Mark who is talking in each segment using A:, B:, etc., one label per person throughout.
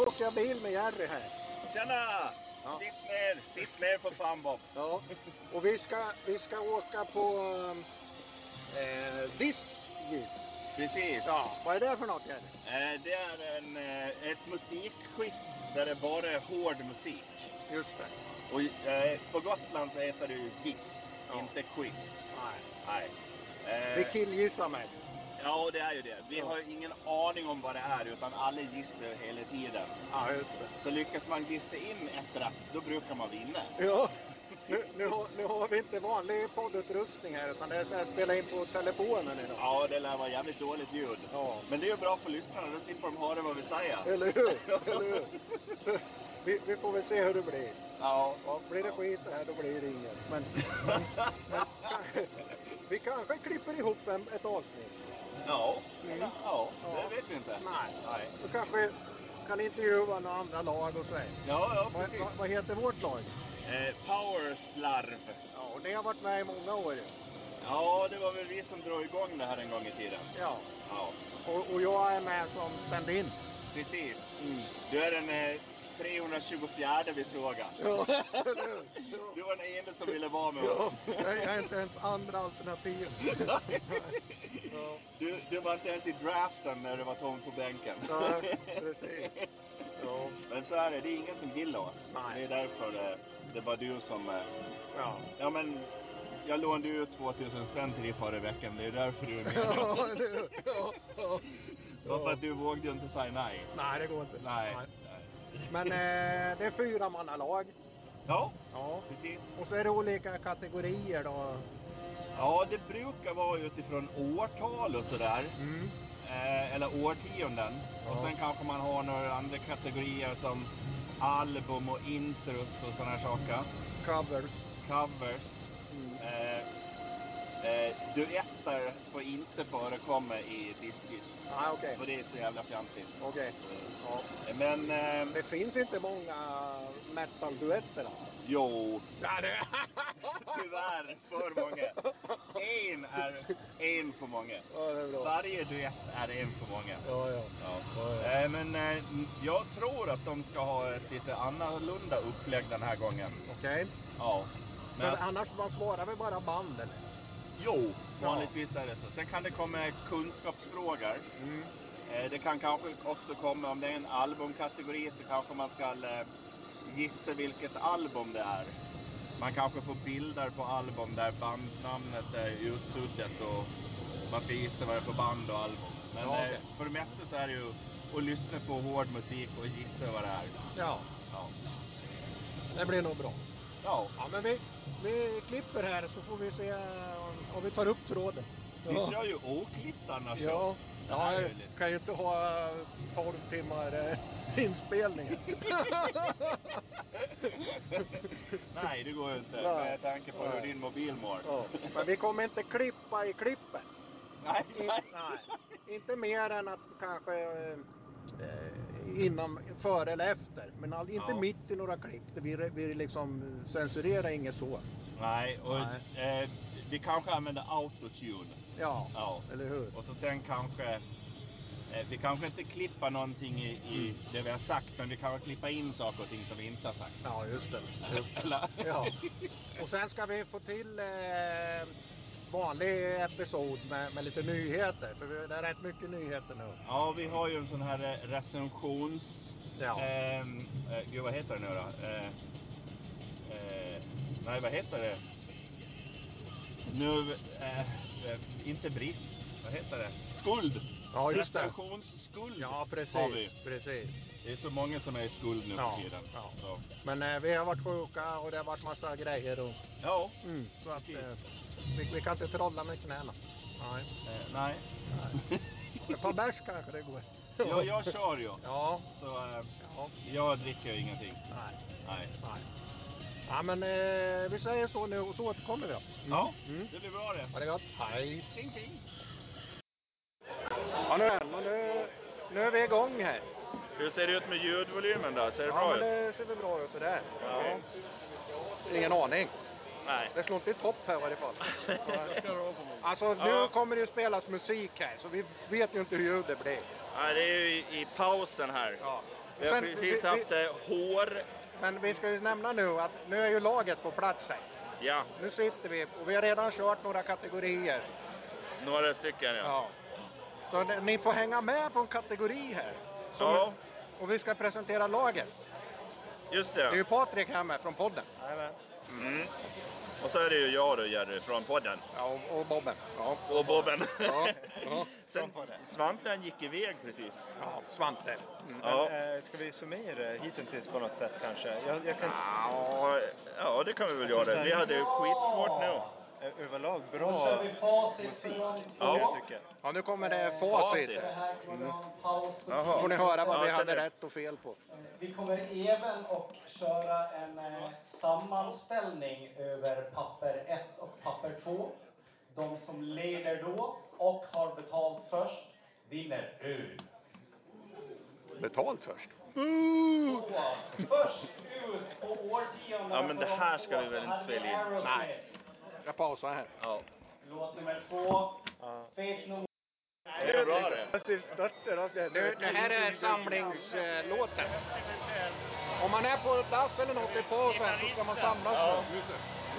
A: åkte jag bil med Jerry här.
B: Tjena!
A: Ja.
B: Sitt ner, sitt ner för fan Bob.
A: Ja. Och vi ska, vi ska åka på um, eh, Visgis.
B: Precis. Ja.
A: Vad är det för något Jerry?
B: Eh, Det är en, eh, ett musikquiz där det bara är hård musik.
A: Just det.
B: Och eh, på Gotland så heter det ju giss,
A: Ja.
B: inte quiz.
A: Nej.
B: Nej. Eh,
A: Vi killgissar mig.
B: Ja, det är ju det. Vi
A: Ja.
B: har ju ingen aning om vad det är, utan alla gissar hela tiden.
A: Ja, just det.
B: Så lyckas man gissa in ett rätt, då brukar man vinna.
A: Ja, nu, nu, har, nu har vi inte vanlig poddutrustning här utan det är så här spela in på telefonen idag.
B: Ja, det lär vara jävligt dåligt ljud.
A: Ja.
B: Men det är ju bra för lyssnarna, då slipper de höra vad vi säger.
A: Eller hur? Eller hur? Så, vi, vi får väl se hur det blir.
B: Ja.
A: Ja, blir det skit så här då blir det inget. Men, men kanske- vi kanske klipper ihop en, ett avsnitt.
B: Ja.
A: Mm.
B: ja,
A: Ja.
B: det vet vi inte.
A: Nej.
B: Nej.
A: Så kanske kan intervjua några andra lag och så. här.
B: Ja, ja,
A: Vad,
B: precis.
A: vad, vad heter vårt lag?
B: Eh, powerslarv.
A: Ja, och ni har varit med i många år ju.
B: Ja, det var väl vi som drog igång det här en gång i tiden.
A: Ja.
B: Ja,
A: Och, och jag är med som stand-in.
B: precis.
A: Mm.
B: Du är den eh, 324 vi sågar.
A: Ja, eller hur? Ja.
B: Du var den enda som ville vara med
A: Ja,
B: oss.
A: jag är inte ens andra alternativ.
B: Nej.
A: Ja.
B: Du, du var inte ens i draften när det var tomt på bänken.
A: Nej, precis. Ja.
B: Men så är det, det är ingen som gillar oss.
A: Nej.
B: Det är därför det, det var du som... eh,
A: Ja.
B: Ja men, jag lånade ju ut 2000 spänn till dig förra veckan. Det är därför du är med.
A: Ja, eller hur? Ja, ja.
B: Bara för
A: Ja.
B: att du vågade ju inte säga nej.
A: Nej, det går inte.
B: Nej.
A: Men eh, det är fyra mannalag.
B: Ja,
A: Ja.
B: precis.
A: Och så är det olika kategorier då.
B: Ja, det brukar vara utifrån årtal och sådär.
A: Mm.
B: Eh, eller årtionden.
A: Ja.
B: Och sen kanske man har några andra kategorier som album och intros och sådana här saker.
A: Covers.
B: Covers.
A: Mm.
B: Eh, eh, duetter får inte förekomma i diskis.
A: Ah, okej.
B: För det är så jävla fjantigt.
A: Okej. Ja.
B: Eh, Men, eh,
A: Det finns inte många metal-duetter alltså.
B: jo.
A: Ja, det...
B: Tyvärr, för många. En är en för många.
A: Ja, det är bra.
B: Varje duett är en för många.
A: Ja, ja.
B: Ja.
A: Ja, ja.
B: Eh, Men eh, jag tror att de ska ha ett lite annorlunda upplägg den här gången.
A: Okej.
B: Ja.
A: Men
B: Men,
A: annars, man svarar väl bara band eller?
B: jo, vanligtvis är det så. Sen kan det komma kunskapsfrågor.
A: Mm.
B: Eh, Det kan kanske också komma, om det är en albumkategori så kanske man ska eh, gissa vilket album det är. Man kanske får bilder på album där bandnamnet är utsuddet och man ska gissa vad det är för band och album. Men
A: Ja, okej.
B: eh, för det mesta så är det ju att lyssna på hård musik och gissa vad det är.
A: Ja,
B: Ja.
A: det blir nog bra.
B: Ja.
A: Ja, men vi, vi klipper här så får vi se om- om vi tar upp tråden.
B: Vi kör ju oklippt annars.
A: Ja.
B: Det
A: ja,
B: här är
A: jag
B: ju lite-
A: kan ju inte ha eh, 12 timmar eh, inspelningar.
B: Nej, det går ju inte.
A: Nej.
B: Med tanke på hur
A: Nej.
B: din mobil mår.
A: ja. Men vi kommer inte klippa i klippet.
B: Nej,
A: In,
B: nej.
A: nej. Inte mer än att kanske eh, eh, innan, före eller efter. Men all, inte
B: Ja.
A: mitt i några klipp. Vi, vi liksom censurerar inget så.
B: Nej, och
A: Nej.
B: Eh, vi kanske använder autotune.
A: Ja,
B: Ja.
A: eller hur?
B: Och så sen kanske... Eh, vi kanske inte klipper någonting i, i
A: Mm.
B: det vi har sagt, men vi kanske klippa in saker och ting som vi inte har sagt.
A: Ja, just det.
B: Eller?
A: Ja. Och sen ska vi få till eh, vanlig episod med, med lite nyheter. För vi- det är rätt mycket nyheter nu.
B: Ja, vi har ju en sån här eh, recensions...
A: Ja.
B: Ehm, eh, gud, vad heter det nu då? Eh, eh, nej, vad heter det? Nu... Eh, eh, inte brist. Vad heter det? Skuld!
A: Ja, just det.
B: Recensionsskuld
A: Ja,
B: har vi.
A: precis. precis.
B: Det är så många som är i skuld nu
A: Ja,
B: för tiden.
A: ja.
B: Så.
A: Men eh, vi har varit sjuka och det har varit massa grejer. Och,
B: ja.
A: så att, eh,
B: Precis.
A: vi, vi kan inte trolla med knäna. Nej.
B: Eh, nej.
A: Nej. Ett par bärs kanske det går.
B: jag, jag kör ju.
A: Ja.
B: Så eh,
A: Ja.
B: jag dricker ju ingenting.
A: Nej.
B: Nej.
A: Nej. Ja, men eh, vi säger så nu och så återkommer vi då. Mm.
B: Ja,
A: Mm.
B: det blir bra det.
A: Ha det gott. Hej.
B: Tjing, tjing.
A: Ja, nu, men nu, nu är vi igång här.
B: Hur ser det ut med ljudvolymen då? Ser det
A: Ja, men det ser väl bra ut sådär.
B: Okej.
A: Ja. Ingen aning.
B: Nej.
A: Det slår inte i topp här i varje fall.
B: Det ska det vara på mig.
A: Alltså, nu
B: Ja.
A: kommer det ju spelas musik här, så vi vet ju inte hur ljudet blir.
B: Nej, det är ju i pausen här.
A: Ja.
B: Vi har
A: Men
B: precis
A: vi-
B: haft
A: vi-
B: eh, hår.
A: Men vi ska ju nämna nu att nu är ju laget på plats här.
B: Ja,
A: Nu sitter vi och vi har redan kört några kategorier.
B: några stycken ja.
A: Ja. Så ni- ni får hänga med på en kategori här. Som-
B: Ja,
A: Och vi ska presentera laget.
B: just
A: Det är ju
B: det.
A: Patrik här med från podden.
B: Mm. Och så är det ju jag då Jerry från podden.
A: Ja, och, och Bobben. Ja.
B: Och Bobben.
A: Ja, ja.
B: Sen, Svanten gick iväg precis.
A: ja, Svante. Mm.
B: Ja.
C: Men, eh, ska vi summera hittills på något sätt kanske? Jag, jag kan,
B: Ja, ja, det kan vi väl göra. Vi hade ju skitsvårt nu.
C: eh, överlag bra musik.
B: Ja.
C: Jag tycker.
A: ja, nu kommer det
B: Facit.
A: facit.
B: Jaha.
A: Då får ni höra vad
B: Ja,
A: vi
B: sen
A: hade
B: nu.
A: rätt och fel på.
D: Vi kommer även och köra en eh, sammanställning över papper 1 och papper 2. De som leder då och har betalt först vinner ur.
A: Betalt först.
D: Först ut på årtionden.
B: Mm. Ja, men det här ska vi väl inte spela in?
A: Nej. Jag pausar här.
B: Ja.
D: Låt nummer två. Fate no
B: Det är bra det.
A: Nu, det här är samlingslåten. Om man är på en dass eller något i pausen så ska man samlas nu.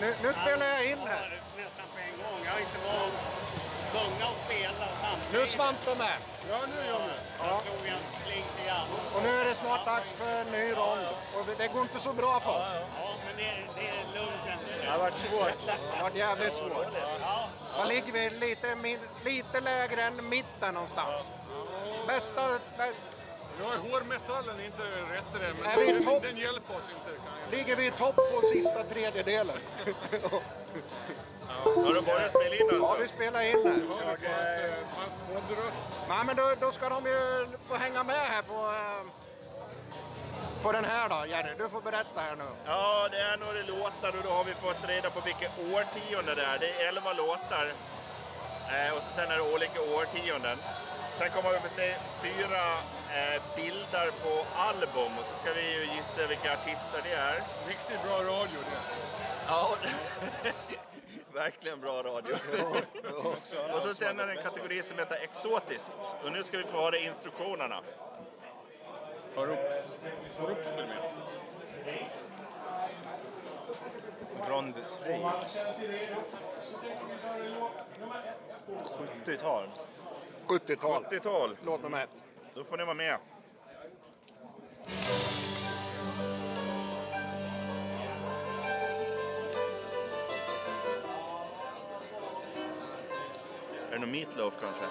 A: Nu, nu spelar jag in här.
E: Nästan på en gång. Jag är inte van att sjunga och spela samtidigt.
A: Nu är Svante med.
E: Jag tog en sling till grann.
A: Och nu är det snart dags för en ny rond. Och det- det går inte så bra för oss.
E: Ja, men det, det är lugnt. Det
B: har varit svårt.
A: Det har varit jävligt svårt.
E: Ja,
A: Var ligger vi? Lite, min- lite lägre än mitten någonstans. Bästa... bä-
F: Ja, hårmetallen är inte rätt i det, men
A: Är vi i
F: den,
A: topp?
F: den hjälper oss inte. Kan jag.
A: Ligger vi i topp på sista tredjedelen?
B: Har du börjat spela in
A: Ja,
B: alltså?
A: vi spelar in här.
F: Hör du på hans, eh, hans poddröst?
A: Nej, men då, då ska de ju få hänga med här på... eh, På den här då, Jerry. Du får berätta här nu.
B: Ja, det är några låtar och då har vi fått reda på vilket årtionde det är. Det är elva låtar. Eh, och så sen är det olika årtionden. Sen kommer vi att se fyra eh, bilder på album och så ska vi ju gissa vilka artister det är.
F: Riktigt bra radio det.
B: Ja, verkligen bra radio. och så sen är det en kategori som heter exotiskt. Och nu ska vi få höra instruktionerna.
F: Har upp, har upp spelar med.
C: Rond 3. 70-tal.
A: 70-tal.
B: 80-tal.
A: Låt nummer ett.
B: Då får ni vara med. Är det någon Meatloaf kanske?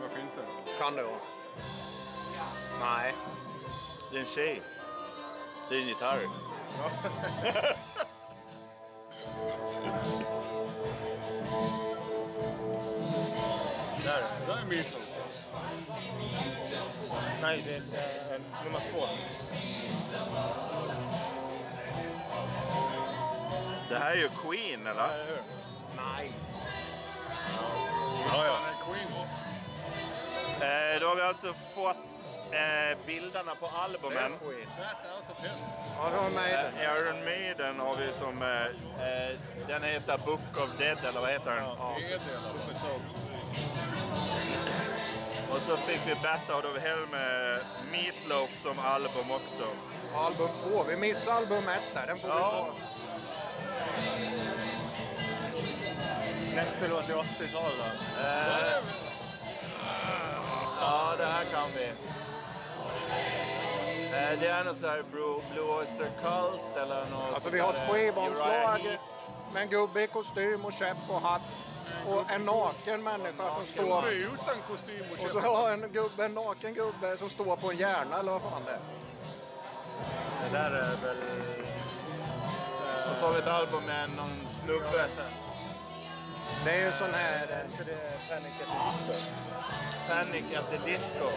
F: Varför inte?
A: Kan det vara. Nej.
B: Det är en tjej. Det är en gitarr.
F: Det där är Meatloaf.
B: Nej, det är nummer två. Det här är ju Queen, eller?
A: Nej.
B: Ja, ja.
F: Han är Queen.
B: Eh, då har vi alltså fått eh, bilderna på albumen.
F: Fat Out of Hell.
A: Ja, det var Maiden.
B: Eh, Iron Maiden har vi som... Eh, eh, den heter Book of Dead, eller vad heter den?
F: Det är det. Super Soul.
B: Och så fick vi Battle of Hell med Meatloaf som album också.
A: Album två. Vi missade album ett där. Den får
B: Ja.
A: vi ta.
C: Nästa låt är 80-tal då.
B: Eh, ja, det här kan vi. Eh, det är något sånt här Blue, Blue Oyster Cult eller något
A: Alltså vi har ett skivomslag med en gubbe i kostym och käpp och hatt. Och en naken människa som
F: Gubbe
A: står...
F: utan kostym
A: Och
F: och
A: så
F: käpp.
A: har en gubbe, en naken gubbe som står på en hjärna eller vad fan det är.
B: Det där är väl... eh, Och så har vi ett album med någon snubbe.
A: Det är ju sån här... eh,
C: Så det är Panic at the Disco.
B: Panic at the Disco.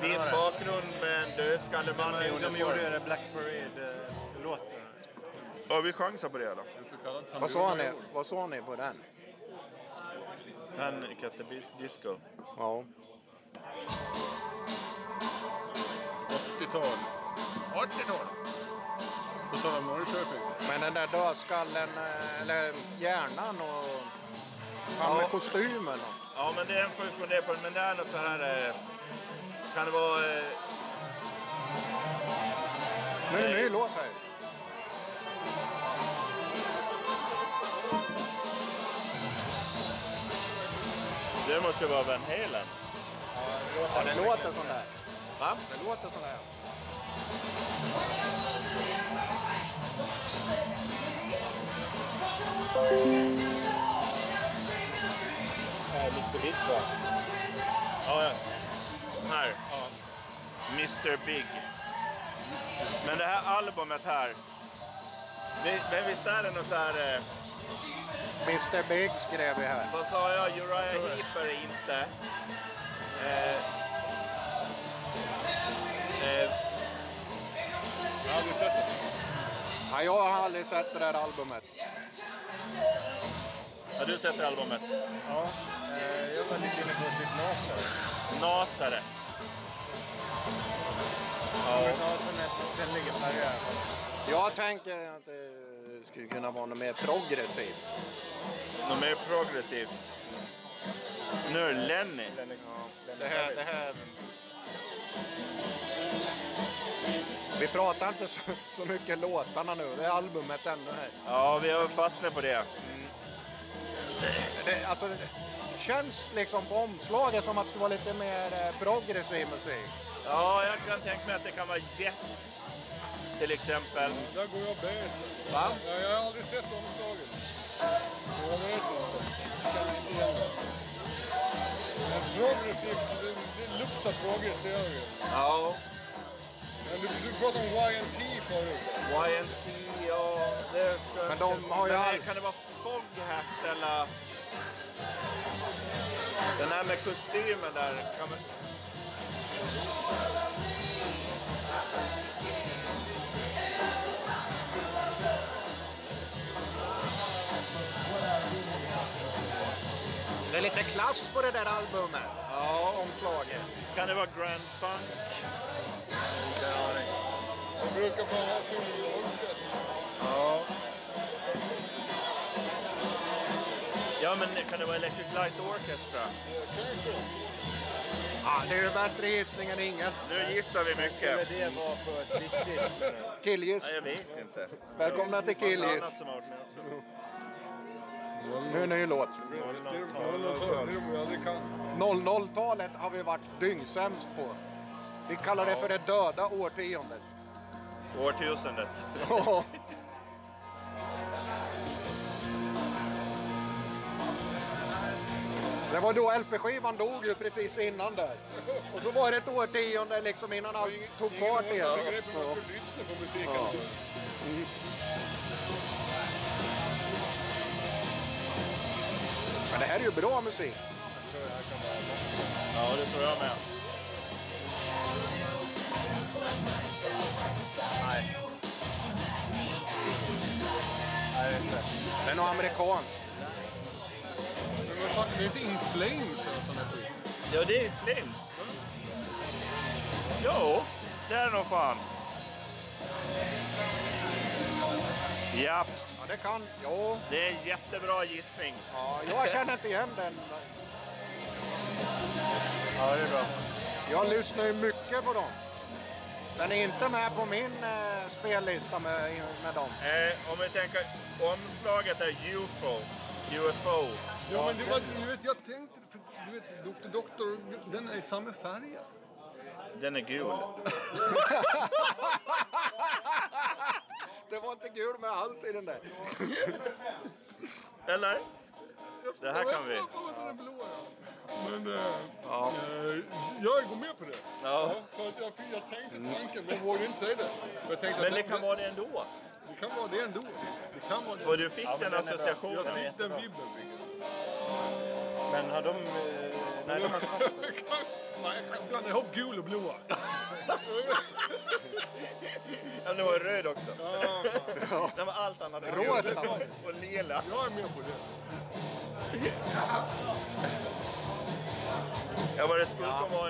B: Vit bakgrund med en dödskalleman i
C: De, de gjorde ju
B: uniform.
C: det Black Parade-låten.
B: Har vi chanser på det eller?
F: En så kallad
A: Vad sa ni?
F: tamburmajor.
A: Vad sa ni på den?
B: Panic at the Bis- Disco.
A: Ja.
F: 80-tal. 80-tal! På tal om Norrköping.
A: Men den där dödskallen, eh, eller hjärnan och... Han med
B: Ja.
A: kostymen och...
B: Ja, men den får vi fundera på. Men det är något så här... eh, Kan det vara... eh,
A: ny låt här.
B: Det måste vara Van Halen.
A: Ja, det låter sån där. Va? Det låter sån där.
B: Mr. Big va? Ja, ja. Här. Mr. Big. Men det här albumet här. Vi- Men visst är det något så här... eh,
A: Mr Big skrev vi här.
B: Vad sa jag? Uriah Heep är det inte. Eh, eh, ja, vi sätter det.
A: Ja, jag har aldrig sett det där albumet.
B: Har du sett albumet?
C: Ja, eh, jag var lite inne på typ Nasar.
B: Nasare.
C: Robert
B: Ja.
C: Nasar med sin ständiga karriär.
A: Jag tänker att det skulle kunna vara något mer progressivt.
B: De är progressivt. Nu är det Lenny.
C: Den är- den är
A: Det här, det
C: härlig.
A: här... Vi pratar inte så, så mycket låtarna nu, det är albumet ändå här.
B: Ja, vi har fastnat på det.
A: Det, alltså, det känns liksom på omslaget som att det ska vara lite mer eh, progressiv musik.
B: Ja, jag kan tänka mig att det kan vara Yes. Till exempel.
F: Där går jag bet.
B: Va?
F: Ja, jag har aldrig sett omslaget. Men Jag vet inte. Jag känner inte igen det. Men progressivt, det, det luktar progress, det gör det ju.
B: Ja.
F: Men du, du pratade om YNT förut.
B: YNT, ja. Det ska
A: Men de har ju
B: Men, eh,
A: all-
B: Kan det vara Foghat eller... Den här med kostymen där. Kan man...
A: Det är lite klass på det där albumet. Ja, omslaget.
B: Kan det vara Grand Funk?
F: Jag brukar bara ha filmen i huvudet.
B: Ja. Ja, men kan det vara Electric Light Orchestra?
A: Ja, det är ju värt gissningen ingen.
B: Nu gissar vi
C: Skulle
B: mycket.
C: det vara för ett riktigt... eh,
A: Killgiss.
B: Nej, jag vet inte.
A: Välkomna till Killgiss.
B: Något annat som har varit med också.
A: Nu är ny låt.
F: Det är roligt, det kan.
A: 00-talet har vi varit dyngsämst på. Vi kallar det för det döda årtiondet.
B: Årtusendet.
A: Ja. Det var då LP-skivan dog ju precis innan där. Och så var det ett årtionde liksom innan allt tog fart
F: Ingen har
A: igen.
F: något begrepp om hur man ska lyssna på musik. alltså.
A: Men det här är ju bra musik.
B: Ja, det tror jag med. Nej.
A: Den är nog amerikansk.
F: Men vad fan, det är inte In Flames eller sån typ. där skit.
B: Ja, det är Flames. Jo, det är nog fan. Japp,
A: Ja, det kan. Jo.
B: det är en jättebra gissning.
A: Ja, jag känner inte igen den.
B: Ja, det är bra.
A: Jag lyssnar ju mycket på dem. Den är inte med på min eh, spellista med, med dem.
B: Eh, om vi tänker, omslaget är UFO. UFO.
F: Ja, men det var, du vet, jag tänkte, för du vet, Dr. Doktor, den är i samma färg.
B: Den är gul.
A: Det var inte gul med alls i den där.
B: Eller? Det här kan vi.
F: Jag vet inte varför den är blå. ja. Men eh,
A: Ja.
F: eh, jag går med på det.
B: Ja. Mm.
F: för att jag, jag tänkte tanken, men jag vågade inte säga det. Men, jag tänkte
B: Men
F: att
B: det kan vara det ändå.
F: det kan vara det ändå. Det kan vara
B: Och
F: det.
B: du fick
C: Ja, men
B: den
C: den är bra.
F: Jag
B: associationen.
F: fick den vibben. fick jag.
C: Men har de... eh, Nej, de har inte varit-
F: Nej, jag blandar ihop gul och blå.
B: Ja, det var röd också.
F: Ja,
A: fan.
B: Det var allt annat än
A: Rosa.
B: gul. Och lila.
F: Jag är med på det.
B: Ja, vad det skulle komma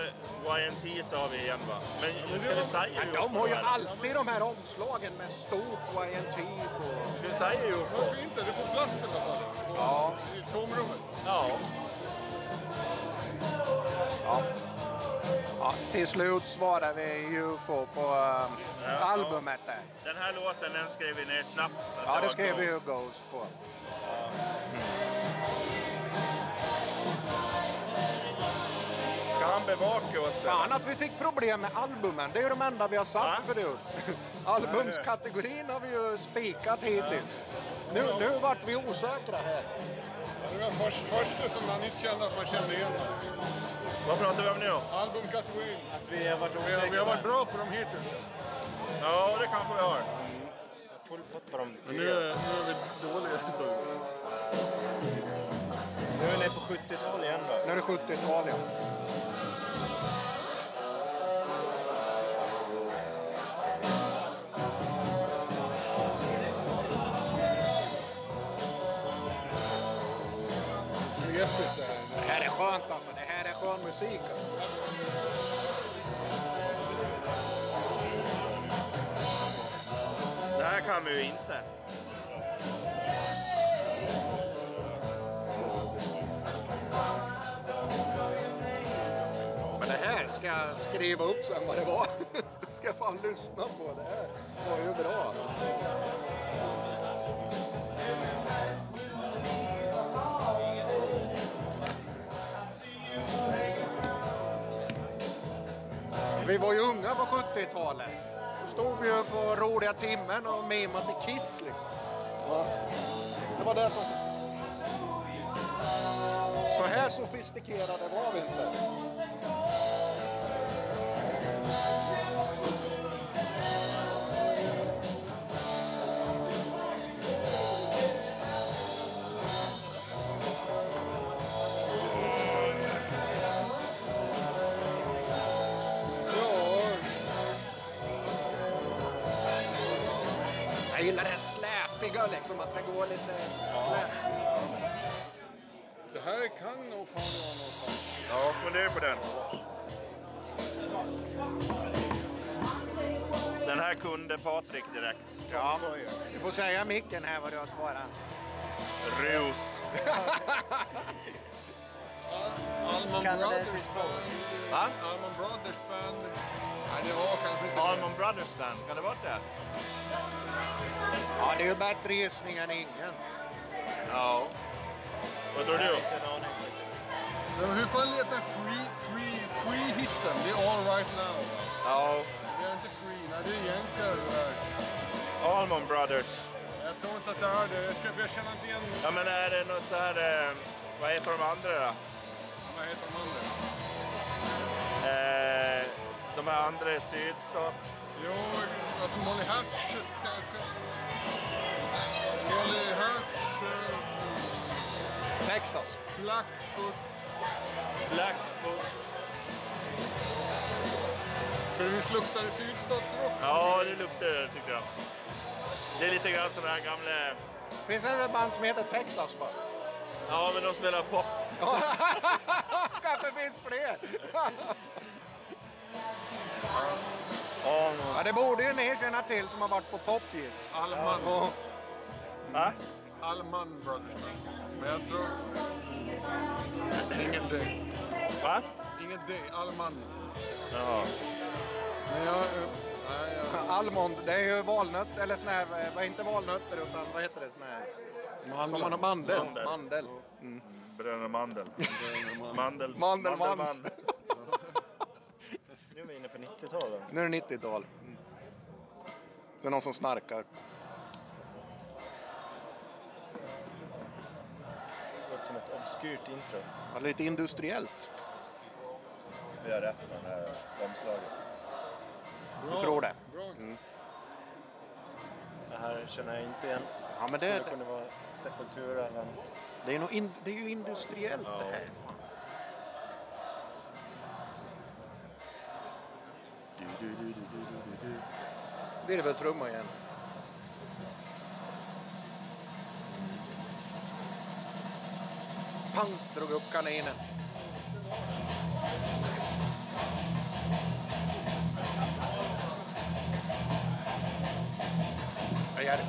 B: YNT sa vi igen va. Men nu ska vi säga
A: Men
B: ju
A: de har ju
B: också, eller?
A: alltid de här omslagen med stort typ YNT på.
B: Ska vi säga ju också?
F: Varför inte? Det får plats i alla fall. På-
A: Ja.
F: I tomrummet.
B: Ja.
A: Ja. Ja, till slut svarade vi UFO på ehm,
B: Ja.
A: albumet där.
B: Den här låten den skrev vi ner snabbt. så att
A: Ja, det
B: var
A: skrev vi ju
B: coolt.
A: Ghost på.
B: Ja. Ska han bevaka oss? eller?
A: Fan att vi fick problem med albumen. Det är ju de enda vi har satt
B: Va?
A: förut. Albumskategorin har vi ju spikat hittills. Nu, nu vart vi osäkra här.
F: Det var först, första som man inte kände att man kände igen.
B: Vad pratar vi om nu?
F: Albumkategorin.
C: Att vi har varit
F: Vi har, vi har varit
C: osäkra.
F: bra på dem hittills.
B: Ja, det kanske vi har.
C: Full pott på dem
F: Men nu,
C: tidigare.
F: är- nu är vi dåliga ett tag.
C: Nu är vi nere på 70-tal igen då.
A: Nu är det 70-tal ja.
F: Svepigt det här.
A: Det här är skönt alltså. Det här är skön musik alltså.
B: Det här kan vi ju inte.
A: Men det här ska jag skriva upp sen vad det var. ska jag fan lyssna på. Det här var ju bra. alltså. Vi var ju unga på 70-talet. Då stod vi ju på roliga timmen och mimade till Kiss liksom. Ja. Det var det som... Så här sofistikerade var vi inte. Jag gillar det släpiga liksom, att det går lite släp.
F: Det här kan nog fan vara något.
B: Ja, fundera på den. Den här kunde Patrik direkt.
A: Ja. Du får säga micken här vad du har svarat.
B: Rus.
F: Alman
C: Kan det-
F: Brothers Band.
B: Va?
F: Alman Brothers Band. Nej, det var kanske inte...
B: Almond Brothers Band, kan det vara det?
A: ja, det är ju bättre gissning än ingen.
B: Ja. Vad tror du?
F: Men hur fan letar free, free, free hitsen? Det är all right now. va?
B: Ja.
F: Det är inte free, nej det är jänkare det där.
B: Almond Brothers.
F: Jag tror inte att det här är det. Jag, ska, jag känner inte igen...
B: Ja, men är det något så här... Eh, vad heter de andra då?
F: Vad heter de andra?
B: Eh, de här andra i sydstat.
F: Jo, alltså Molly Hatch kanske. Molly Hatch, eh,
A: Texas.
F: Blackfoot.
B: Blackfoot.
F: För visst luktar det sydstatsrock?
B: Ja, det luktar det tycker jag. Det är lite grann som den här gamla...
A: Finns det ett band som heter Texas va?
B: Ja, men de spelar pop.
A: Kanske finns fler.
B: Almond.
A: ja, det borde ju ni känna till som har varit på Popgiss.
F: Alman.
A: Och
B: Va?
F: Alman Brothers. Men jag tror... Ingen D.
B: Va?
F: Ingen D. Alman.
B: Ja.
F: Men jag... eh, Nej, jag...
A: Almond, det är ju valnöt, eller sån här, eh, vad- inte valnötter utan vad heter det sån här? Som man har mandel.
B: Mandel.
A: Mandel.
B: Bröderna Mandel. Mandel.
A: Mandel, mandel.
B: Mandel.
C: Nu är vi inne på 90-talet.
A: Nu är det 90-tal. Det är någon som snarkar.
C: Det låter som ett obskyrt intro.
A: Ja, lite industriellt.
C: Vi har rätt med det här omslaget.
A: Jag tror det.
F: Bra.
A: Mm.
C: Det här känner jag inte igen.
A: Ja, men
C: Det
A: det,
C: skulle kunna vara Sepultura eller något.
A: det, är, nog in, det är ju industriellt det här. Fan. Virveltrumma igen. Pang drog upp kaninen. Jag gör det.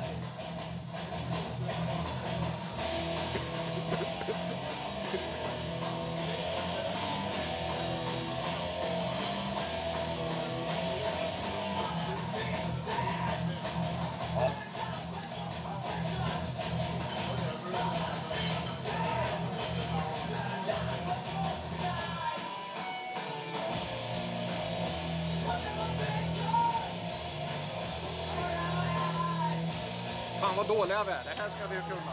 A: Fan vad dåliga vi är. Det här ska vi ju kunna.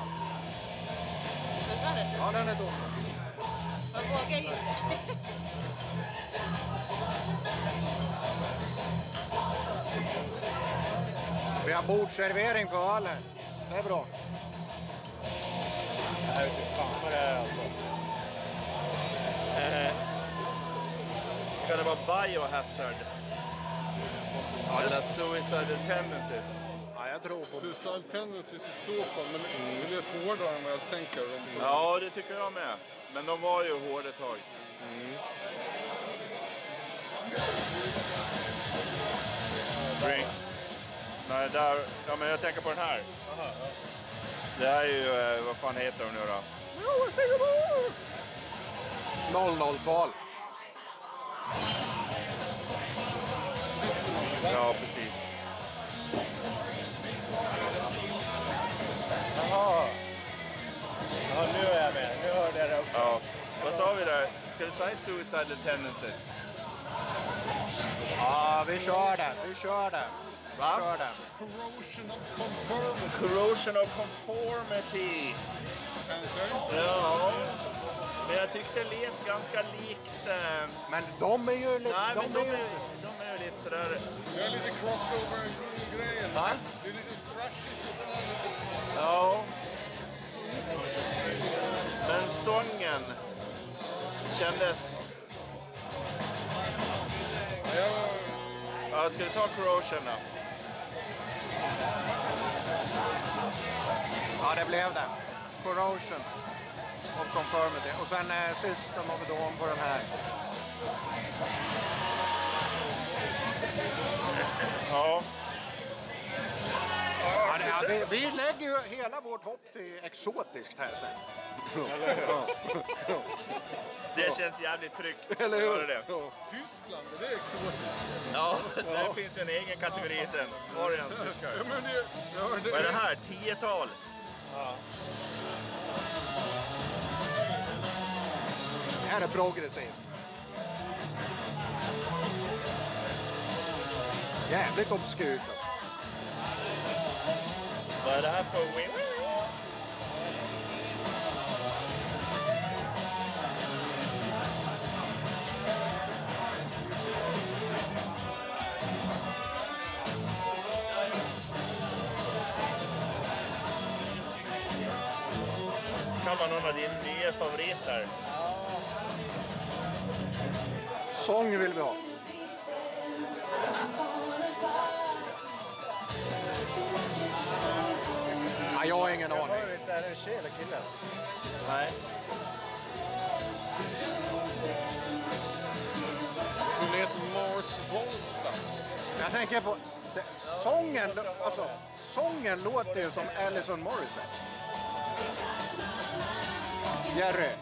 G: Kunde det?
A: Ja, den är dålig.
G: Man vågar ju inte.
A: Vi har bordservering på ölen. Det är bra.
C: Nej, fy fan vad det är alltså.
B: Eh, kan det vara biohazard? Eller suicidal tendencies?
A: Ja, jag tror på det.
F: Suicidal tendencies i så fall, men det är lite hårdare än vad jag tänker. om det.
B: Ja, det tycker jag med. Men de var ju hårda ett tag.
C: Mm.
B: Drink. Nej, där. Ja, men jag tänker på den här. Det här är ju, eh, vad fan heter de nu då?
A: 00-tal.
B: Ja, precis.
C: Jaha. Ja, nu är jag med. Nu hörde jag det också.
B: Ja. Vad sa vi där? Ska vi säga suicidal tendencies?
A: Ja, vi kör den. Vi kör den.
B: Va?
A: Vi kör den.
F: Corrosion of conformity.
B: Corrosion of conformity.
F: kanske.
B: Ja. Men jag tyckte det lät ganska likt... Eh,
A: Men de är ju... li-
B: nej, men de
A: ju-
B: är, de är ju lite sådär...
F: Det är lite crossover-grejen.
B: Va?
F: Det är lite thrashigt och sådär.
B: Ja. Men sången kändes...
F: Ja, jag var-
B: Ja, ska vi ta Corrosion då?
A: Ja, det blev den. Corrosion of conformity. Och sen eh, sist så var vi då om på den här.
B: Ja.
A: Ja, det, ja, vi, vi lägger ju hela vårt hopp till exotiskt här sen.
B: Det känns jävligt tryggt.
A: Eller hur?
B: Hör du Det?
A: Ja.
F: Tyskland, det är exotiskt.
B: Ja, där finns ju en egen kategori sen. Var det ens tyskar?
F: Ja, men det, jag hörde,
B: Vad är det här? Tiotal?
A: Det här är progressivt. Jävligt obskyrt. alltså.
B: Vad är det här för win? Kan vara någon av dina nya favoriter.
A: Sång vill vi ha. Ja, jag har ingen
C: Jag
A: aning.
C: hör inte. Är det en tjej eller kille?
B: Nej.
F: Hon heter Mars Volta.
A: Jag tänker på... Det, sången, alltså, sången låter ju som Alison Morrison. Jerry.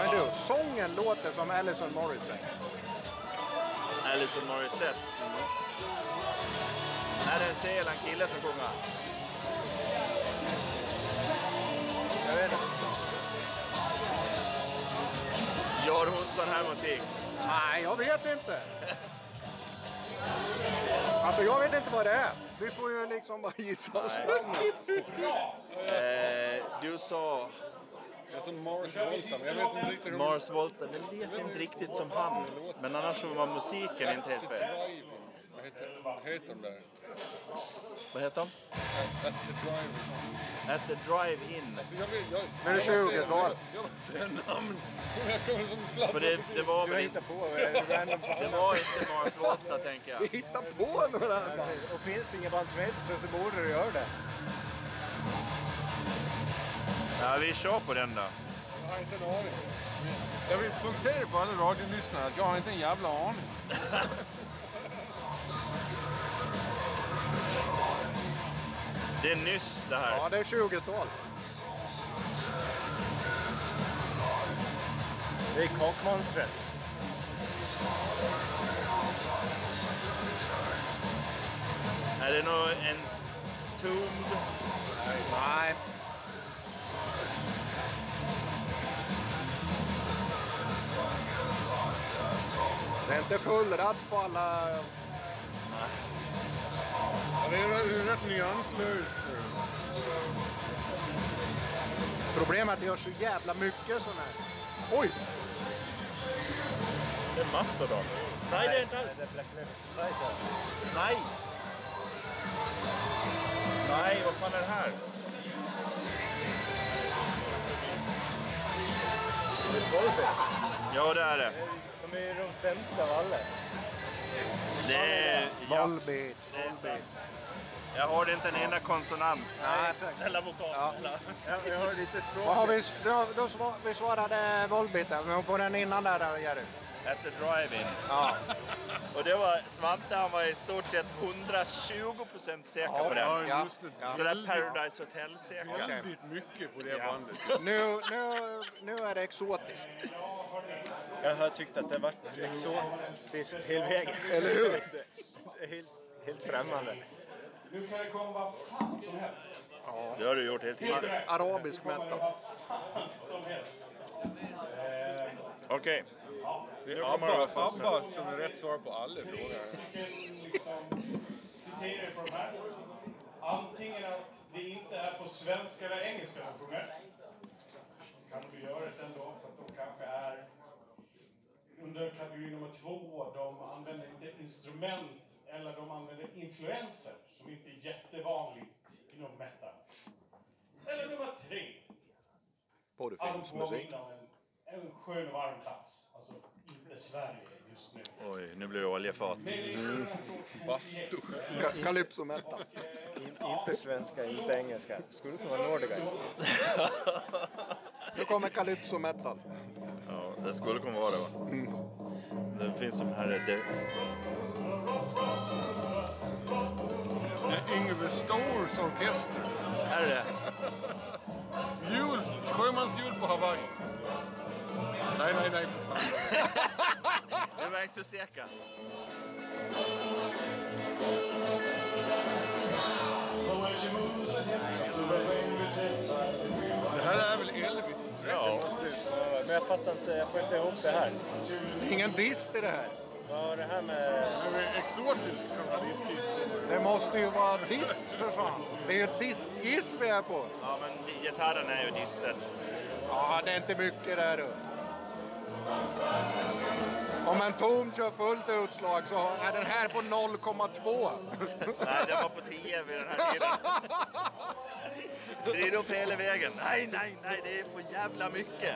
A: Men du, sången låter som Alison Morrison.
B: Alison Morissette.
C: Mm.
B: Är det en tjej eller en kille som sjunger?
C: Jag vet inte.
B: Gör hon sån här musik?
A: Nej, jag vet inte. Alltså, jag vet inte vad det är. Vi får ju liksom bara gissa oss
B: Nej.
A: fram.
B: Eh, du sa
F: Alltså Mars Volta, men jag vet inte riktigt hur hon-
B: Mars Volta. Det lät inte riktigt som han. Men annars så var musiken inte helt fel.
F: Driving. Vad heter, vad heter de där?
B: Vad heter de?
F: At the Driving.
B: At the Drive-In.
F: Jag vet, jag,
A: Nu är det
F: jag säger-
A: 20-tal.
F: Jag säger namn. Jag kommer som
B: För det, det var
C: Du
B: väl
C: har
B: inte...
C: hittat på eh, random
B: Det var inte Mars Volta, tänker jag.
A: Vi hittar på några. band.
C: Och finns det inget band som heter så, så borde du göra det.
B: Ja, vi kör på den då.
F: Jag har inte en aning. Jag vill punktera på alla radiolyssnare att jag har inte en jävla aning.
B: Det är nyss det
A: Ja,
B: här.
A: det är 20-tal.
C: Det är kockmonstret.
B: Nej, det någon, en tomb?
A: Nej. Det är inte fullratt på alla...
F: Ja, det är ju rätt nyanslöst.
A: Problemet är att det görs så jävla mycket sådana här. Oj!
B: Det är Mastodon. Nej, det är inte alls.
C: Det är Black Lives Society.
B: Nej! Nej, vad fan är det här?
C: Det är Volvo.
B: Ja, det är det.
C: De är ju de sämsta av alla.
B: Det är... Ja,
A: Volbeat. Volbeat.
B: jag hörde inte en enda konsonant.
A: Nej, exakt.
E: Eller vokal.
A: Ja.
E: Eller.
C: Jag har lite språk.
A: Vad har vi, då, då svar, vi svarade Volbeat där, men på den innan där, där Jerry.
B: Efter drive-in.
A: Ja.
B: Och det var... Svante, han var i stort sett 120 procent säker på den.
F: Ja, just det.
A: Ja.
B: Så det är Paradise hotel säkert.
A: Okej.
F: Väldigt mycket på det
B: Ja.
F: bandet.
A: Nu, nu, nu är det exotiskt.
C: Jag har tyckt att det varit exotiskt hela vägen.
A: Eller hur?
C: helt, helt främmande.
H: Nu kan det komma vad fan som helst.
B: Det har du gjort helt
H: Helt
B: rätt.
H: rätt.
A: Arabisk
H: Det kommer
A: metal.
H: vad fan som helst. Eh,
B: Okej.
F: Det
B: Nu
F: är
B: kommer det
F: ABBA,
B: vara fast nu.
F: ABBA som är rätt svar på alla frågor.
H: vilken, liksom, kriterier för de här. Antingen att det inte är på svenska eller engelska de sjunger. Kan de ju göra det sen då, för att de kanske är under kategori nummer två. De använder inte instrument eller de använder influenser som inte är jättevanligt inom metal. Eller nummer tre. Allt påminner om en, en skön och varm plats. Alltså, inte Sverige just nu.
B: Oj, nu blir det oljefat.
H: Mm.
F: Bastu.
A: Ka- Calypso metal.
C: In, inte svenska, inte engelska. Skulle kunna vara Nordica.
A: Nu kommer calypso metal.
B: Ja, det skulle kunna vara det va?
A: Mm.
B: Det finns som här... Det...
F: Det är Yngve Stors orkester.
B: Här är det.
F: Jul, sjömansjul på Hawaii. Nej, nej, nej. för fan.
B: Du var inte så säker.
F: Det här är väl Elvis?
B: Ja.
C: Men jag fattar inte, jag får inte ihop det här.
A: Ingen brist i det här.
C: Vad har det här med...
F: Det är väl exotisk journalistik.
A: Det måste ju vara dist för fan. Det är ju ett distgiss vi är på.
B: Ja, men gitarren är ju distel.
A: Ja, det är inte mycket där du. Om en tom kör fullt utslag så är den här på 0,2.
B: Nej, det var på 10 vid den här tiden. Vrid upp hela vägen. Nej, nej, nej, det är för jävla mycket.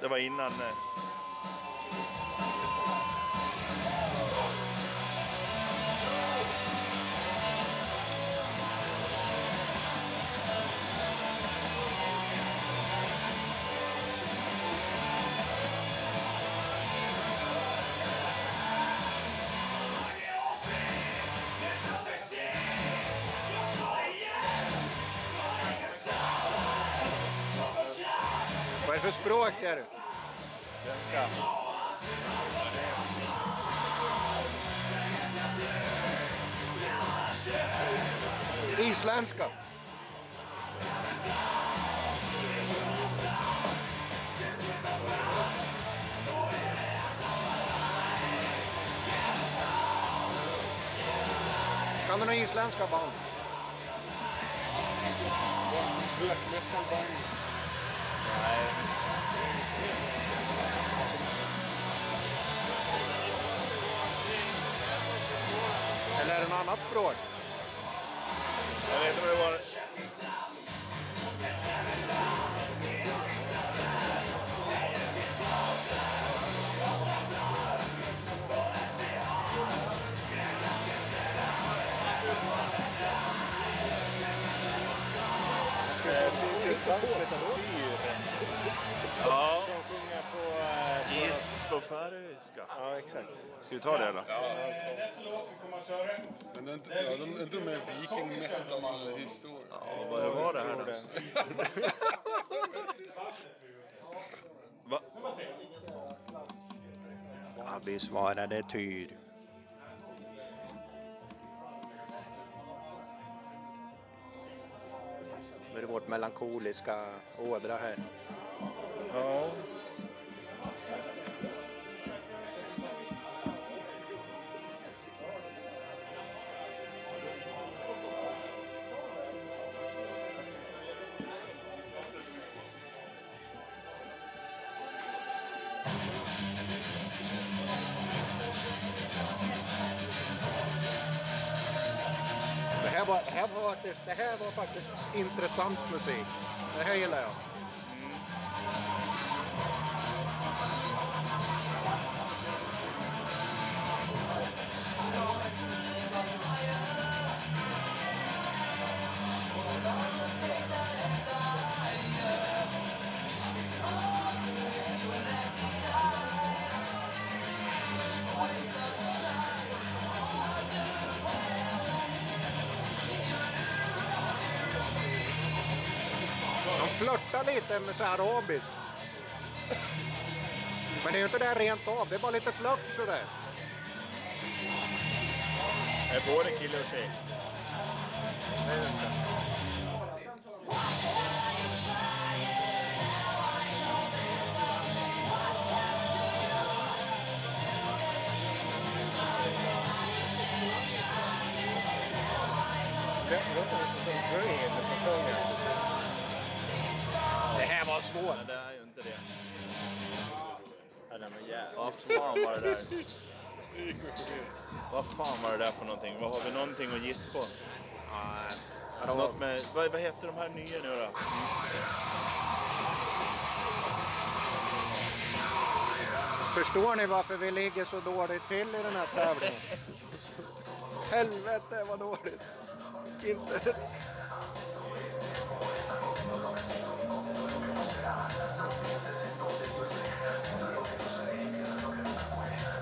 B: Det var innan... eh,
A: Vad är det för språk är det?
B: Svenska.
A: Isländska. Kan du några isländska band?
F: Black metal-band.
B: Nej.
A: Eller är det något annat språk?
B: Jag vet inte vad det var.
C: Det finns ju ett band som heter Tyr.
B: Ja.
C: Som sjunger på... eh, på-
B: Is på färöiska.
C: Ja, exakt.
B: Ska vi ta det eller?
H: Nästa låt vi kommer att köra,
F: Men det är inte, ja, de är inte med Viking metal-historia.
B: Ja, vad var det här
C: Tror
B: då?
C: det.
B: Va?
A: Ja, vi svarade Tyr. vårt melankoliska ådra här.
B: Ja.
A: Det här var, det här var, faktiskt, det här var faktiskt intressant musik. Det här gillar jag. De flörtar lite med så här arabiskt. Men det är ju inte det rent av, det är bara lite flört sådär.
B: Är både kille och tjej? Nej, vänta. Det låter nästan som Dream på sången.
A: Det här var svårt.
B: Men det är ju inte det. Ja, den var jävligt... Vad fan var det där? Vad fan var det där för någonting? Vad har vi någonting att gissa på? Något med, vad, vad heter de här nya nu då?
A: Förstår ni varför vi ligger så dåligt till i den här tävlingen? Helvete vad dåligt. Inte...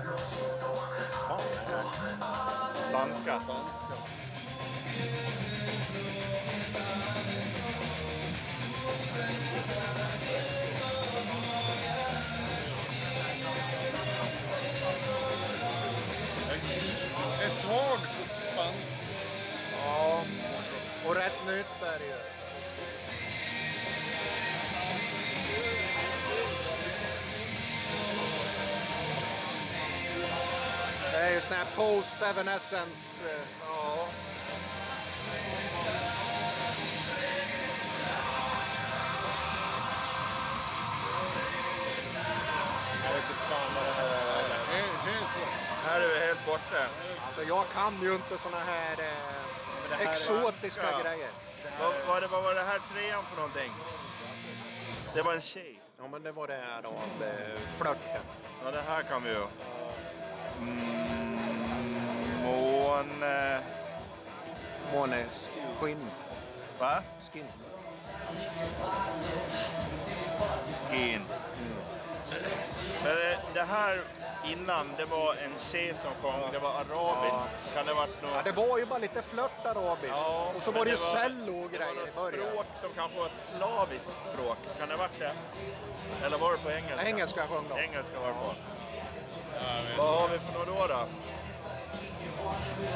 B: Fan, vad är det? Spanska.
C: Det är svag på spanska.
A: Ja. Och rätt nytt är det ju. Det är ju sån här post evanescence. eh, Ja.
B: Jag vet inte fan vad det här är.
C: Helt, helt bra.
B: Här är vi helt borta.
A: Alltså jag kan ju inte såna här, eh,
B: det här är-
A: exotiska
B: Ja.
A: grejer.
B: Vad, vad, det, vad var det här trean för någonting? Det var en tjej.
A: Ja men det var det här då om eh, flörten.
B: Ja, det här kan vi ju. Mm, mån... eh,
A: Måneskinn.
B: Va?
A: Skin.
B: Skin.
A: Mm.
B: Men det, det här innan, det var en tjej som sjöng. Det var arabiskt. Kan det ha varit något...
A: Ja det var ju bara lite flört arabiskt.
B: Ja,
A: och så
B: men
A: var det ju
B: var-
A: cello och
B: Det
A: grejer i
B: var något
A: början.
B: språk som kanske var ett slaviskt språk. Kan det ha varit det? Eller var det på engelska?
A: Engelska sjöng de.
B: Engelska var det på. Vad har vi för några då? då?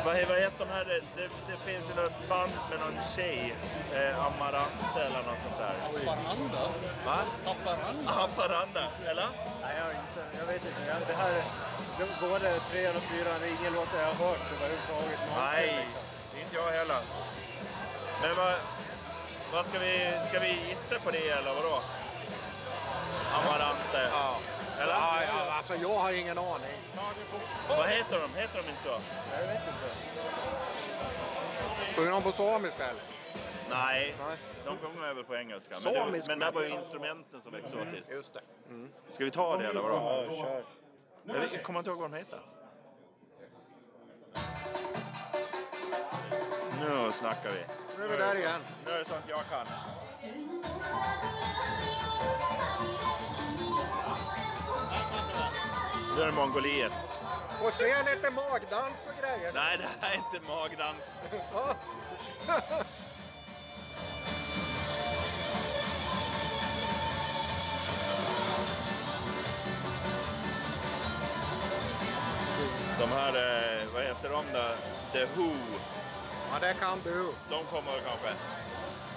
B: Vad, he- vad heter de här? Det, det, det finns ju något band med någon tjej. Eh, Amarante eller något sånt där.
C: Haparanda?
B: Va?
C: Haparanda?
B: Haparanda, eller?
C: Nej, jag, inte, jag vet inte. Jag, det här, det, både trean och fyran, det är ingen låt jag har hört överhuvudtaget. någonsin,
B: Nej,
C: liksom.
B: inte jag heller. Men vad, vad ska vi, ska vi gissa på det eller vadå? Amarante.
A: Ja.
B: Eller?
A: Ja, ja, alltså jag har ingen aning.
B: Vad heter de? Heter de inte så?
C: Jag vet inte.
A: Sjunger de på samiska eller?
B: Nej,
A: Nej.
B: de sjunger över på engelska. Men, det,
A: Samisk
B: men där var ju instrumenten som var exotiskt.
A: Just det. Mm.
B: Ska vi ta det eller vadå?
C: Ja, kör.
B: Jag vet- jag kommer inte ihåg vad de heter. Nu snackar vi.
A: Nu är vi där igen.
B: Nu är det sånt jag kan. Nu är det Mongoliet.
A: Och se lite magdans och grejer.
B: Nej, det här är inte magdans.
A: Ja.
B: De här, eh, vad heter de då? The Who.
A: ja, det kan du.
B: De kommer kanske.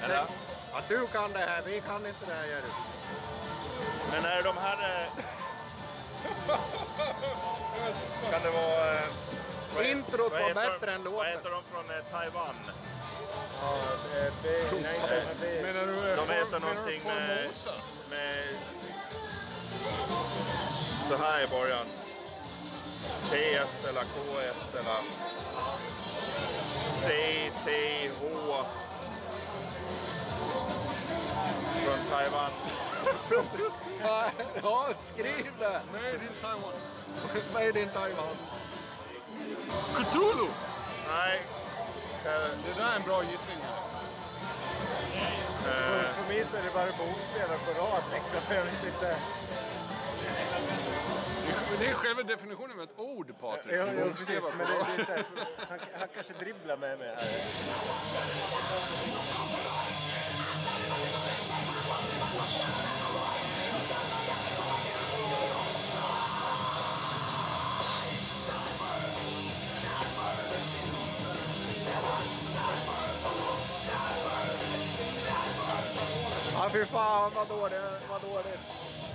B: Eller?
A: Att du kan det här, vi kan inte det här Jerry.
B: Men är de här... eh, Kan det vara... eh, vad heter-
A: Introt
B: vad
A: var
B: heter de-
A: bättre än låten.
B: Vad heter de från eh, Taiwan?
F: Menar du... eh,
B: De
F: Form-
B: heter
F: menar du
B: någonting med...
F: Formosa?
B: med så här i början. TS eller KS eller... CCH. Från Taiwan.
A: ja, skriv det!
F: Nej, det är Taiwan.
A: Made in Taiwan.
F: Cthulhu!
B: Nej. Eh,
F: Det där är en bra gissning.
B: eh,
A: För mig så är det bara bokstäver på rad liksom. Jag vet inte.
F: Men det är själva definitionen av ett ord, Patrik.
A: Jo,
F: Du
A: jo,
F: borde se
A: precis.
F: vad
A: Men det,
F: bra.
A: det är så här, han, han kanske dribblar med mig här. Ja, fy fan vad dåligt, vad dåligt.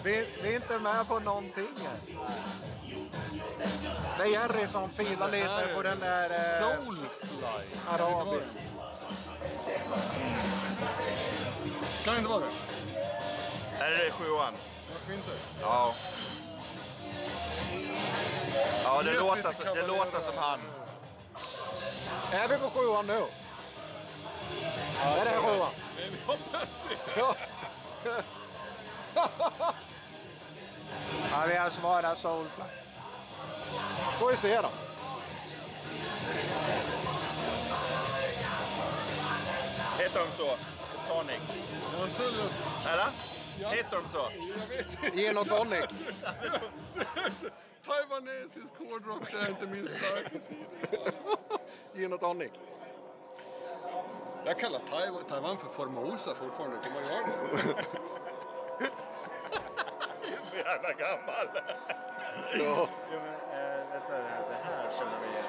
A: Vi, vi är inte med på någonting här. Det är Jerry som filar lite på den där... Eh,
F: Soulfly.
A: arabisk.
F: Kan det inte vara det?
B: är det sjuan?
F: Varför inte?
B: Ja. Ja, det
F: Vet
B: låter,
F: lite
B: som- det låter som han.
A: Är vi på sjuan nu? är det här sjuan?
F: Men jag hoppas det.
A: Ja. ja, vi har svarat Soulfly. Får vi se då.
B: Heter de så? Tonic.
F: Ja, så låter-
B: Eller?
F: Ja.
B: Heter de så?
F: Jag vet inte.
A: Gin och tonic.
F: Taiwanesisk hårdrock är inte min starka sida.
A: Gin och tonic.
F: Jag kallar Taiwan, Taiwan för Formosa fortfarande. Kan man göra det?
B: Jag är så jävla gammal.
A: Ja.
C: Jo, men eh, vänta, det här, det här känner vi igen.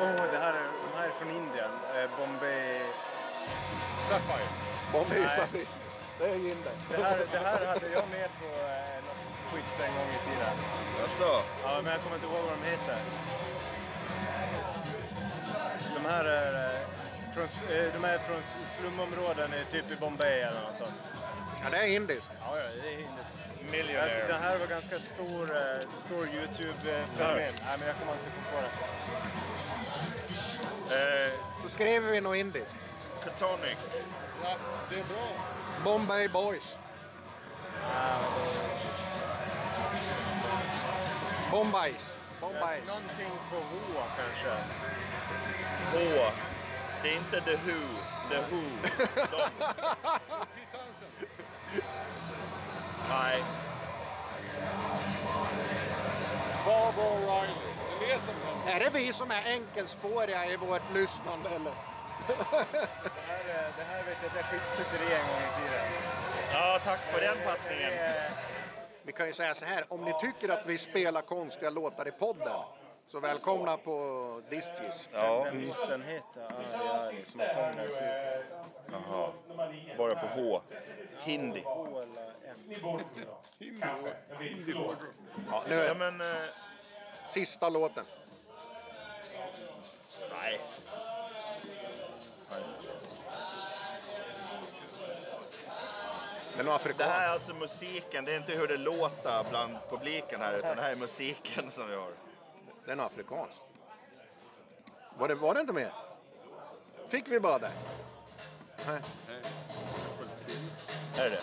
C: Åh, det här är, de här är från Indien. Eh, Bombay.
B: Sapphire.
A: Om vi
C: Nej.
A: vi. Det är gin det.
C: Det här, det här hade jag med på eh, något quiz en gång i tiden.
B: Jaså?
C: Ja, men jag kommer inte ihåg vad de heter. De här är eh, från, s- eh, de här är från s- slumområden, eh, typ i Bombay eller något sånt.
A: Ja, det är indiskt.
C: Ja, ja, det är indiskt. Alltså,
B: Millionaire.
C: det här var ganska stor, eh, stor Youtube-fenomen. Nej, men jag kommer inte på det.
B: Eh,
A: Då skriver vi nog indiskt.
B: Tonic.
F: Ja, det är bra.
A: Bombay Boys. Bombay. Bombay.
C: Eh, Någonting på H kanske.
B: H. Det är inte The Who. The Who. De. Nej.
F: Bob O'Reilly. Det vet de inte.
A: Är det vi som är enkelspåriga i vårt lyssnande eller?
C: Det här, eh, det här vet jag att jag skickade till dig en gång i tiden.
B: Ja, tack för den passningen.
C: Eh,
A: vi kan ju säga så här, om ni tycker att vi spelar konstiga låtar i podden så välkomna på Discgis.
B: Ja.
C: Den låten heter Ari som man sjöng där i slutet.
B: Jaha. Bara på H. Hindi.
C: H eller M.
I: Ni borde då. Kanske. Jag vet inte.
B: Ja,
A: Nu är det.
B: ja men... Eh,
A: Sista låten.
B: nej. Nej.
A: Men någon
B: Det här
A: afrikan.
B: är alltså musiken, det är inte hur det låter bland publiken här utan det här är musiken som vi har.
A: Den är afrikansk. Var det, var det inte mer? Fick vi bara det? Nej.
B: Är det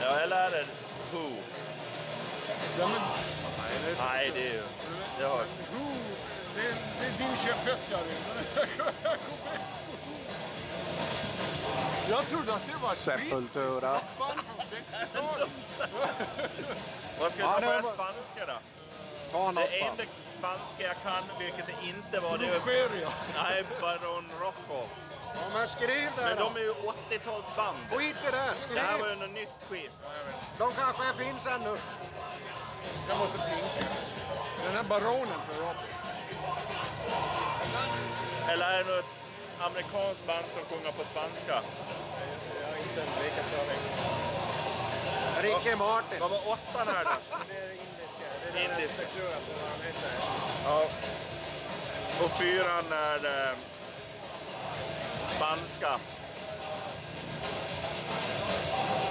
B: Ja, eller är det Who?
F: Ja, men,
B: Nej, det är ju... Det har...
F: Who? Det är, det är din käpphäst, Jari. Jag trodde att det var ett
A: Sepultura.
F: band från 60-talet.
B: Vad ska vi
A: Ja,
B: ta
A: det
B: på
A: var
B: den
A: bara-
B: spanska då?
A: Ta något
B: Det enda
A: band.
B: spanska jag kan, vilket det inte var, det är...
F: Nigeria.
B: Nej, Baron Rocco.
A: Ja men skriv det
B: Men
A: då.
B: de är ju 80-talsband.
A: Skit i det.
B: Det här var
A: Skriv.
B: ju något nytt skit.
A: De kanske finns ännu.
J: Jag måste blinka. Den här baronen för rock.
B: Eller är det något amerikanskt band som sjunger på spanska? Jag har inte en lika aning.
A: Ricky Martin.
B: Vad var åttan här då? Indiska. Ja. Och fyran är eh, spanska.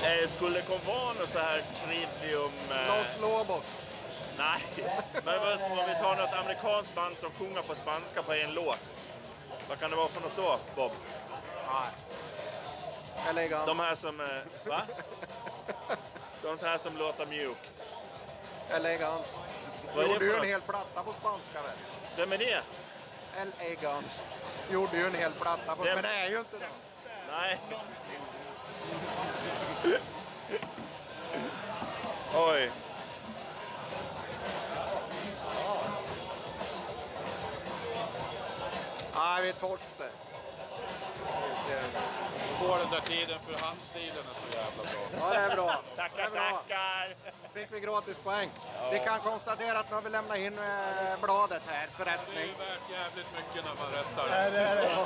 B: Eh, skulle det kunna vara något så här trivium... eh,
A: Los Lobos.
B: nej, men vad- om vi tar något amerikanskt band som sjunger på spanska på en låt. Vad kan det vara för något då, Bob?
A: Nej. Jag lägger av.
B: De här som... Eh, va? De här som låter mjukt.
A: Elegans.
B: Vad är det
A: Gjorde
B: för
A: ju en
B: något?
A: hel platta på spanska väl?
B: Vem är det?
A: Elegans. Gjorde ju en hel platta på...
B: Det-
A: Men det är ju inte det.
B: Nej. Oj.
A: Nej, vi torsk det.
F: På den där tiden för handstilen är så jävla bra.
A: Ja, det är bra. det
B: Tackar,
A: är bra.
B: tackar.
A: Fick vi gratis poäng. Vi kan konstatera att nu har vi lämnat in eh, bladet här för
F: Det är
A: rättning.
F: ju värt jävligt mycket när man rättar
B: Nej, det är det.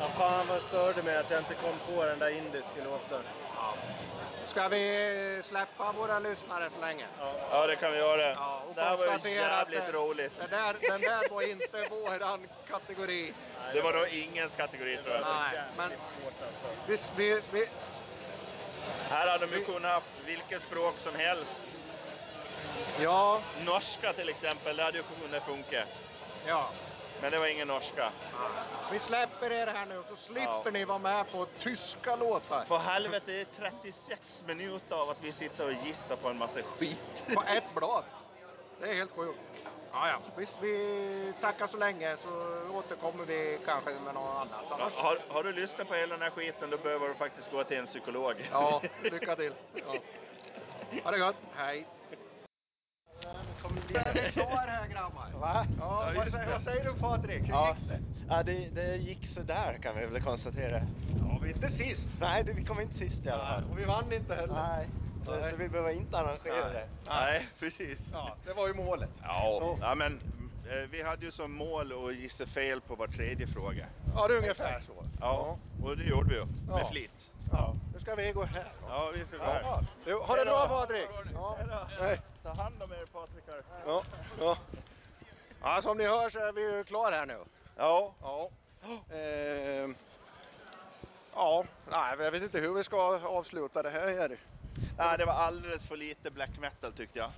C: Ja, fan vad störde mig att jag inte kom på den där indiska låten.
A: Ska vi släppa våra lyssnare så länge?
B: Ja, det kan vi göra.
A: Ja, och
B: det här var ju
A: konstatera att eh, det-
B: jävligt roligt.
A: Den där, den där var inte våran kategori.
B: Det var nog ingens kategori, tror jag.
A: Nej, men
C: Svårt alltså.
A: vi, vi, vi,
B: Här hade de ju kunnat haft vilket språk som helst.
A: ja,
B: Norska till exempel, det hade ju kunnat funka.
A: ja.
B: Men det var ingen norska.
A: Vi släpper er här nu så slipper
B: Ja.
A: ni vara med på tyska låtar.
B: För helvete, det är 36 minuter av att vi sitter och gissar på en massa skit.
A: På ett blad. Det är helt sjukt. Ja, ja. Visst, vi tackar så länge så återkommer vi kanske med något annat.
B: Ja,
A: Annars...
B: Har, har du lyssnat på hela den här skiten, då behöver du faktiskt gå till en psykolog.
A: Ja, lycka till. Ja. Ha det gott. Hej. Är ni kvar här grabbar?
C: Va?
A: Ja, vad, säger, vad säger du Patrik? Hur
C: Ja,
A: gick det?
C: ja det, det gick sådär kan vi väl konstatera.
A: Ja, vi är inte sist.
C: Nej, det, vi kom inte sist i alla fall.
A: Och vi vann inte heller.
C: Nej,
A: Nej.
C: så, så vi behöver inte arrangera det.
B: Nej, precis.
A: Ja, det var ju målet.
B: Ja, ja men eh, vi hade ju som mål att gissa fel på var tredje fråga.
A: Ja, det är ungefär så.
B: Ja, och det gjorde vi ju. Med
A: Ja.
B: flit.
A: Ja. Nu ska vi gå här.
B: Ja, vi ska gå
A: Ja.
B: här.
A: Du, ha det bra Patrik!
B: Ja.
A: Hej.
B: Ta hand om er Patrikar.
A: Ja, ja. ja, som ni hör så är vi ju klara här nu.
B: Ja,
A: Ja. Ehm. Ja, nej, jag vet inte hur vi ska avsluta det här.
B: nej, det var alldeles för lite black metal tyckte jag.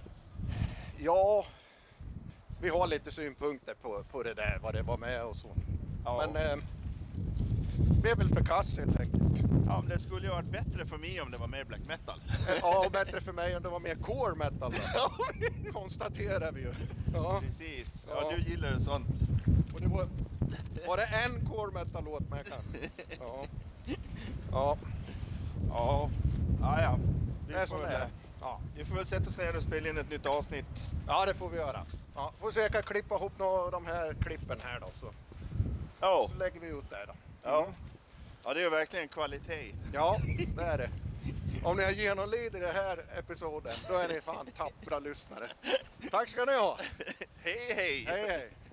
A: Ja, vi har lite synpunkter på, på det där, vad det var med och så.
B: Ja.
A: Men eh, vi är väl för kass helt enkelt.
B: Ja, men det skulle ju ha varit bättre för mig om det var mer black metal.
A: Ja, och bättre för mig om det var mer core metal då. Konstaterar vi ju. Ja.
B: Precis. Ja,
A: Ja.
B: du gillar ju sånt.
A: Och det var, var det en core metal låt med kanske? Ja. Ja,
B: Ja, ja. ja. Vi,
A: det är
B: får
A: som det
B: väl,
A: är. Ja.
B: vi får väl sätta oss ner och spela in ett nytt avsnitt.
A: ja, det får vi göra. Ja, får försöka klippa ihop några av de här klippen här då. Så,
B: Ja,
A: så lägger vi ut det här då.
B: ja.
A: Mm.
B: ja det är ju verkligen kvalitet.
A: Ja, det är det. Om ni har genomlidit den här episoden, då är ni fan tappra lyssnare. Tack ska ni ha.
B: hej, hej!
A: Hej, hej.